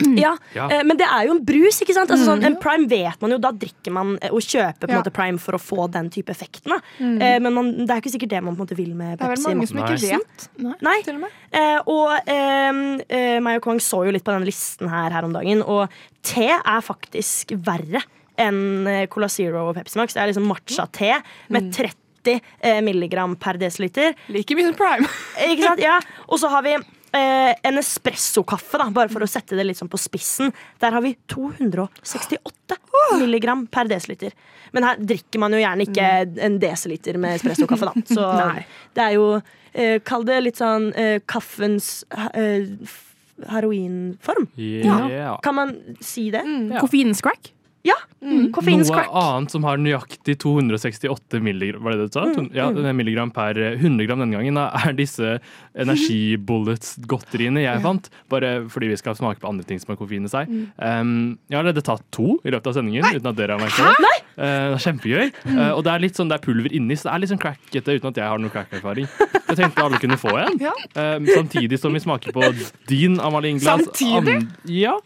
S6: mm.
S5: Ja,
S2: Ja.
S5: eh, Men det er jo en brus, ikke sant? Altså, sånn, en prime vet man jo, da drikker man eh, og kjøper på en
S6: Ja. Mm.
S5: måte prime for å få den type effekten. Da. Eh, men man, det er jo ikke sikkert det man på en måte vil med
S6: Det er vel
S5: Pepsi.
S6: mange
S5: Max.
S6: som
S2: Nei.
S6: ikke vet,
S5: Nei,
S6: til og med.
S5: Eh, og ehm, eh, meg og Kwang så jo litt på den listen her her om dagen, og te er faktisk verre enn eh, Cola Zero og Pepsi Max. Det er liksom matcha-te med 30 eh, milligram per desiliter.
S6: Like mye som Prime.
S5: Eh, Ikke sant? Ja. Og så har vi eh, en espressokaffe, da, bare for å sette det litt sånn på spissen. Der har vi 268 milligram per desiliter. Men her drikker man jo gjerne ikke en desiliter med espressokaffe, da. Så det er jo eh, Kall det litt sånn eh, kaffens eh, f- heroinform.
S2: Yeah.
S5: Kan man si det?
S3: Koffeinens crack.
S5: Ja! Koffeinens
S2: Mm. Noe
S5: crack.
S2: annet som har nøyaktig 268 milligram, var det det du sa? To- Ja, det er milligram per eh, 100 gram denne gangen, da, er disse energibullets-godteriene jeg fant. Bare fordi vi skal smake på andre ting som har koffein i seg. Um, jeg har allerede tatt to i løpet av sendingen, uten at dere har merket det. Eh, det er kjempegøy. Eh, og det er litt sånn det er pulver inni, så det er litt sånn crackete uten at jeg har noe crack-erfaring. Jeg tenkte alle kunne få en.
S6: Ja.
S2: Eh, samtidig som vi smaker på din Amalie Inglas.
S6: Samtidig?
S2: ja.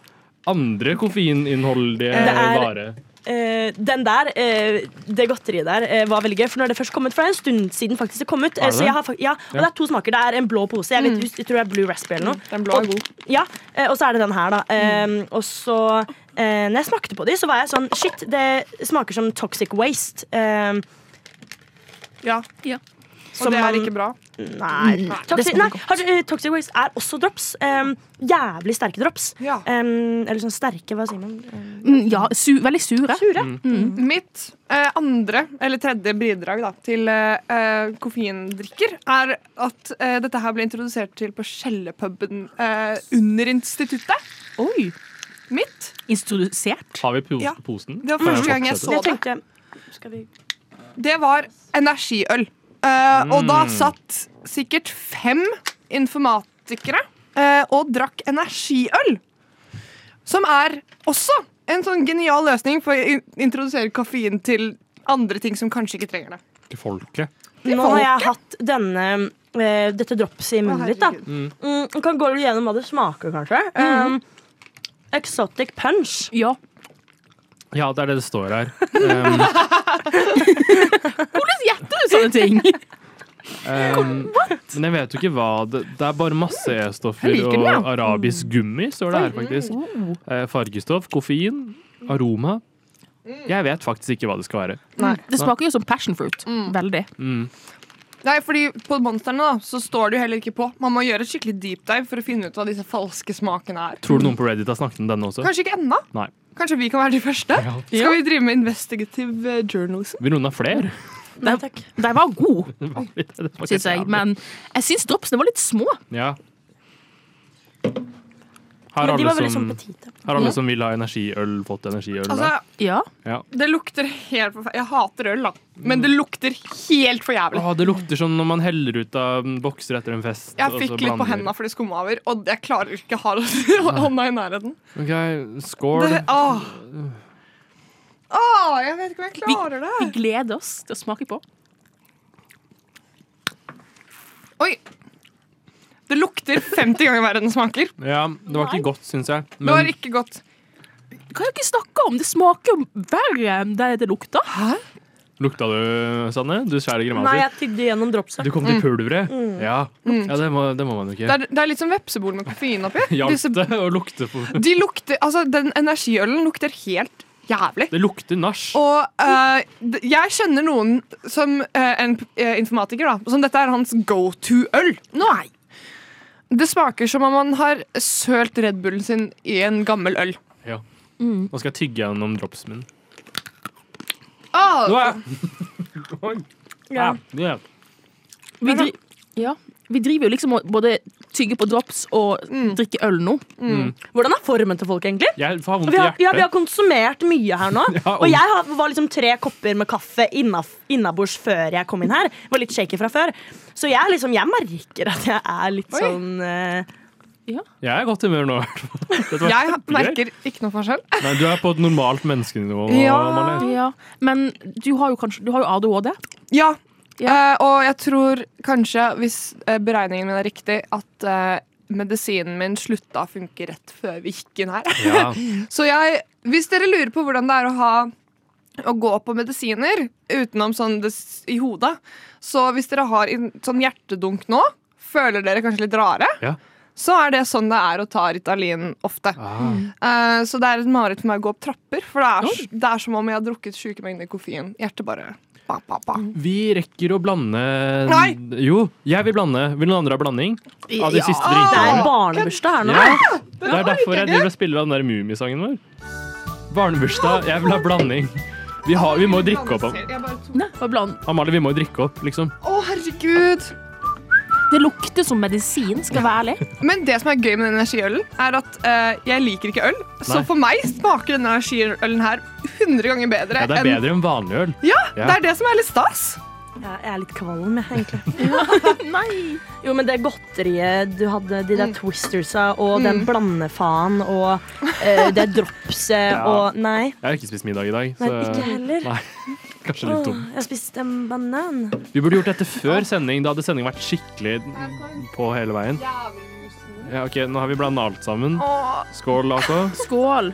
S2: Andre koffeininnholdige
S5: Det er-
S2: vare.
S5: Eh, den der, eh, det godteriet der, eh, var veldig gøy. For når det først kom ut, for det er en stund siden faktisk det kom ut. eh,
S2: Er det
S5: så
S2: det?
S5: jeg har, fak- ja, og det er to smaker. Det er en blå pose. Jeg, vet, jeg tror det er Blue Raspberry eller noe.
S6: Den blå er god.
S5: Ja, eh, og så er det den her, da. Eh, Og så eh, Når jeg smakte på de, så var jeg sånn Shit, det smaker som toxic waste. Eh,
S6: Ja.
S5: som
S6: Og det
S5: man-
S6: er ikke bra.
S5: Nei. Toxic,
S3: smaker
S5: nei har, du- eh, toxic waste er også drops. Eh, jævlig sterke drops.
S6: Ja.
S5: Eh, eller sånn sterke, hva sier man?
S3: Mm, ja, su veldig sure.
S6: Mitt eh, andre, eller tredje bidrag da, til eh, eh, koffeindrikker er at eh, dette her ble introdusert til på skjellepuben eh, under instituttet.
S3: Oi.
S6: Mitt.
S3: Introdusert.
S2: Har vi pos
S6: Ja.
S2: posen?
S6: Det var første gang jeg
S2: Fortsette.
S6: så
S5: Jeg
S6: det.
S5: tenkte Skal vi
S6: Det var energiøl. Eh, Og da satt sikkert fem informatikere eh, og drakk energiøl. Som er også en sånn genial løsning for å in- introdusere koffein til andre ting som kanskje ikke trenger det.
S2: til folket.
S5: Nå har jeg hatt denne eh, dette dropset i
S6: Å,
S5: munnen litt. da
S6: herregud.
S5: mm, jeg Kan gå litt gjennom hva det smaker, kanskje. Um, exotic punch.
S3: Ja.
S2: Ja, det er det det står her. Um,
S3: Gjetter du sånne ting?
S2: um, men jeg vet jo ikke hva det Det er bare masse E-stoffer
S6: Jeg liker den,
S2: og
S6: ja. Mm.
S2: arabisk gummi, står det her faktisk.
S3: Oh,
S2: Eh, fargestoff, koffein, aroma.
S6: Mm.
S2: Jeg vet faktisk ikke hva det skal være. Mm.
S3: Det smaker jo som passion fruit. Veldig.
S6: Nei, fordi På monstrene da, så står det jo heller ikke på. Man må gjøre et skikkelig deep dive for å finne ut hva disse falske smakene er.
S2: Tror du noen på Reddit har snakket om denne også?
S6: Kanskje ikke ennå?
S2: Nei.
S6: Kanskje vi kan være de første?
S2: Ja.
S6: Skal vi drive med investigative eh, journalism?
S2: Vil noen ha flere?
S3: De, de var gode,
S2: Det var litt- det smakte
S3: syns jeg.
S2: jævlig.
S3: Men jeg syns dropsene var litt små.
S2: Ja. Har
S5: Men de var
S2: alle,
S5: veldig
S2: som,
S5: sånn petite.
S2: har alle som vil ha energiøl, fått energiøl?
S6: Altså,
S2: da?
S3: Ja.
S2: ja.
S6: det lukter helt forferdelig. Jeg hater øl, da.
S2: Mm.
S6: Men det lukter helt for jævlig.
S2: Å, det lukter som når man heller ut av bokser etter en fest. og
S6: Jeg
S2: så
S6: fikk litt på
S2: blander.
S6: hendene fordi det skumma over, og jeg klarer ikke å ha hånda i nærheten.
S2: Ok, Skål.
S6: Det, åh. Åh, jeg vet ikke om jeg klarer
S3: Vi
S6: det.
S3: gleder oss til å smake på.
S6: Oi. Det lukter 50 ganger verre enn det smaker.
S2: Ja, det var ikke godt, syns jeg.
S6: Det var
S2: Men
S6: ikke godt.
S3: Hva er det dere snakker om? Det smaker jo verre enn det det lukter.
S2: lukta du, Sanne? Du skjærer
S5: Nei,
S2: grimaser.
S5: jeg tygde gjennom dropset.
S2: Du kom til pulveret. Ja,
S6: Mm.
S2: ja det, må, det må man jo
S6: Det
S2: ikke.
S6: er, det er litt som vepsebol med koffein oppi. Disse,
S2: Hjalp det å lukte på
S6: de lukter, altså, den energiølen lukter helt jævlig.
S2: Det lukter nach.
S6: Og eh, d- jeg kjenner noen som eh, en p- eh, informatiker, da, som dette er hans go to-øl. Nei. Det smaker som om man har sølt Red Bullen sin i en gammel øl.
S2: Ja. Nå skal jeg tygge gjennom dropsen min.
S6: Åh,
S2: Nå er Oi.
S5: Ja.
S2: Ja.
S3: Vi, dri ja. vi driver jo liksom og både tygger på drops og drikker øl nå.
S6: Mm.
S2: Mm.
S5: Hvordan er formen til folk, egentlig?
S2: Jeg får vondt
S5: Vi
S2: i
S5: har, ja, vi har
S2: hjertet.
S5: konsumert mye her nå.
S2: Ja,
S5: Og jeg har, var liksom tre kopper med kaffe innaf- innabords før jeg kom inn her. Var litt shaky fra før. Så jeg, liksom, jeg merker at jeg er litt
S6: Oi.
S5: sånn eh,
S2: Jeg er i godt humør nå. i hvert fall. Dette var
S6: Jeg
S2: kjempegøy.
S6: merker ikke noe forskjell.
S2: Nei, Du er på et normalt menneskenivå. nå,
S6: Ja.
S2: Malene.
S3: Ja. Men du har jo kanskje Du har jo ADHD.
S6: Ja. Eh, og jeg tror kanskje, hvis eh, beregningen min er riktig, at eh, medisinen min slutta å funke rett før vi gikk inn her.
S2: Ja.
S6: Så jeg, hvis dere lurer på hvordan det er å ha å gå på medisiner utenom sånn det, s- i hodet, så hvis dere har en sånn hjertedunk nå, føler dere kanskje litt rare,
S2: Ja.
S6: så er det sånn det er å ta Ritalin ofte.
S2: Ah.
S6: Eh, så det er et mareritt for meg å gå opp trapper, for det er, s- det er som om jeg har drukket sjuke mengder koffein. Hjertet bare ba, ba, ba.
S2: Vi rekker å blande
S6: Nei.
S2: Jo, jeg vil blande. Vil noen andre ha blanding? Av de
S3: Ja.
S2: siste
S5: Det
S2: drinkene.
S5: er barnebursdag her nå.
S2: Ja. Det er derfor jeg driver og spiller den der Mummisangen vår. Barnebursdag. Jeg vil ha blanding. Vi, har, vi må jo drikke opp. Am-
S6: Jeg bare tok-
S3: Nei, hva blant-
S2: Amalie, vi må jo drikke opp, liksom.
S6: Å, herregud!
S3: Det lukter som medisin, skal jeg være ærlig.
S6: Men det som er gøy med den energiølen, er at eh, jeg liker ikke øl. Så
S2: Nei.
S6: for meg smaker denne energiølen her 100 ganger bedre.
S2: Ja, det er
S6: enn-
S2: bedre enn vanlig øl.
S6: Ja,
S2: Ja.
S6: det er det som er litt stas.
S5: Ja, jeg er litt kvalm, jeg, egentlig.
S3: Nei.
S5: Jo, men det godteriet du hadde, de der twistersa og den blandefaen og eh, det dropset
S2: Ja.
S5: og Nei.
S2: Jeg har ikke spist middag i dag,
S5: Nei, ikke
S2: så
S5: heller.
S2: Nei. kanskje litt dum.
S5: Åh, jeg spiste en banan.
S2: Vi burde gjort dette før sending. Da hadde sending vært skikkelig på hele veien. Ja, ok, Nå har vi blanda alt sammen.
S6: Åh,
S2: Skål, AK.
S3: Skål.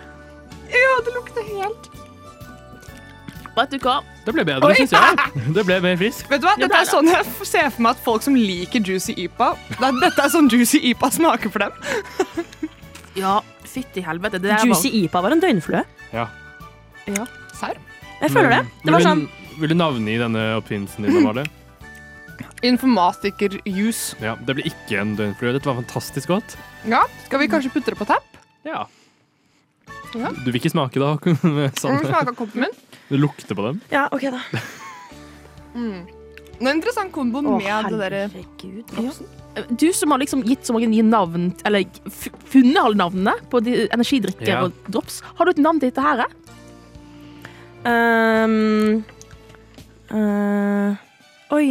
S6: ja, det lukter helt
S3: Vet du hva?
S2: Det ble bedre, syns jeg. Det ble mer frisk.
S6: Vet du hva,
S3: Ja, det
S6: Dette
S3: er
S6: er sånn jeg f- ser for meg at folk som liker Juicy Ypa det er- Dette er sånn Juicy Ypa smaker for dem.
S3: Ja, fytti helvete. Det der var
S5: Juicy Ipa var en døgnflue.
S2: Ja.
S6: Serr?
S5: Jeg føler det. Det
S2: Vil
S5: var
S2: du-
S5: sånn
S2: Vil du navngi denne oppfinnelsen din, Amalie?
S6: Informatiker-juice.
S2: Ja, det ble ikke en døgnflue. Dette var fantastisk godt.
S6: Ja, skal vi kanskje putte det på tapp?
S2: Ja.
S6: Ja.
S2: Du vil ikke smake da?
S6: Om
S5: Mm,
S6: vi
S2: sånn.
S6: smaker koppen min.
S2: Du lukter på dem?
S5: Ja, OK, da.
S6: Mm. Det er en interessant kombo
S5: Å,
S6: med det derre
S5: herregud. altså.
S3: Du som har liksom gitt så mange nye navn, eller f- funnet alle navnene på de energidrikker
S2: Ja.
S3: og drops, har du et navn til dette her? eh?
S5: Ehm, eh, oi.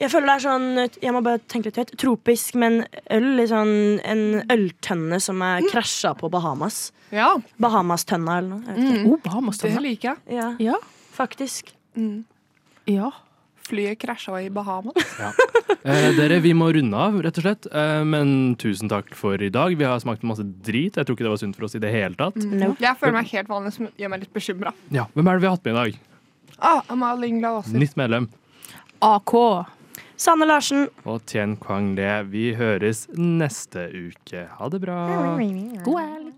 S5: Jeg føler det er sånn Jeg må bare tenke litt høyt. Tropisk, men øl i sånn en øltønne som er krasja på Bahamas.
S6: Ja,
S5: Bahamastønna eller noe. Jeg vet ikke.
S3: Oh, Bahamas,
S2: Sånn,
S6: det
S3: Tonje.
S6: liker jeg.
S5: Ja,
S3: Ja.
S5: faktisk.
S6: Mm.
S3: ja.
S6: Flyet krasja i Bahama.
S2: Eh, dere, vi må runde av, rett og slett. Eh, men tusen takk for i dag. Vi har smakt masse drit. Jeg tror ikke det var sunt for oss i det hele tatt.
S5: No.
S6: Jeg føler meg helt vanlig, som gjør meg litt bekymra.
S2: Ja, Hvem er det vi har hatt med i dag?
S6: Ah, Amalie Ingla Aaser.
S2: Nytt medlem.
S3: AK.
S5: Sanne Larsen.
S2: Og Tien Kwang Le. Vi høres neste uke. Ha det bra.
S3: God helg.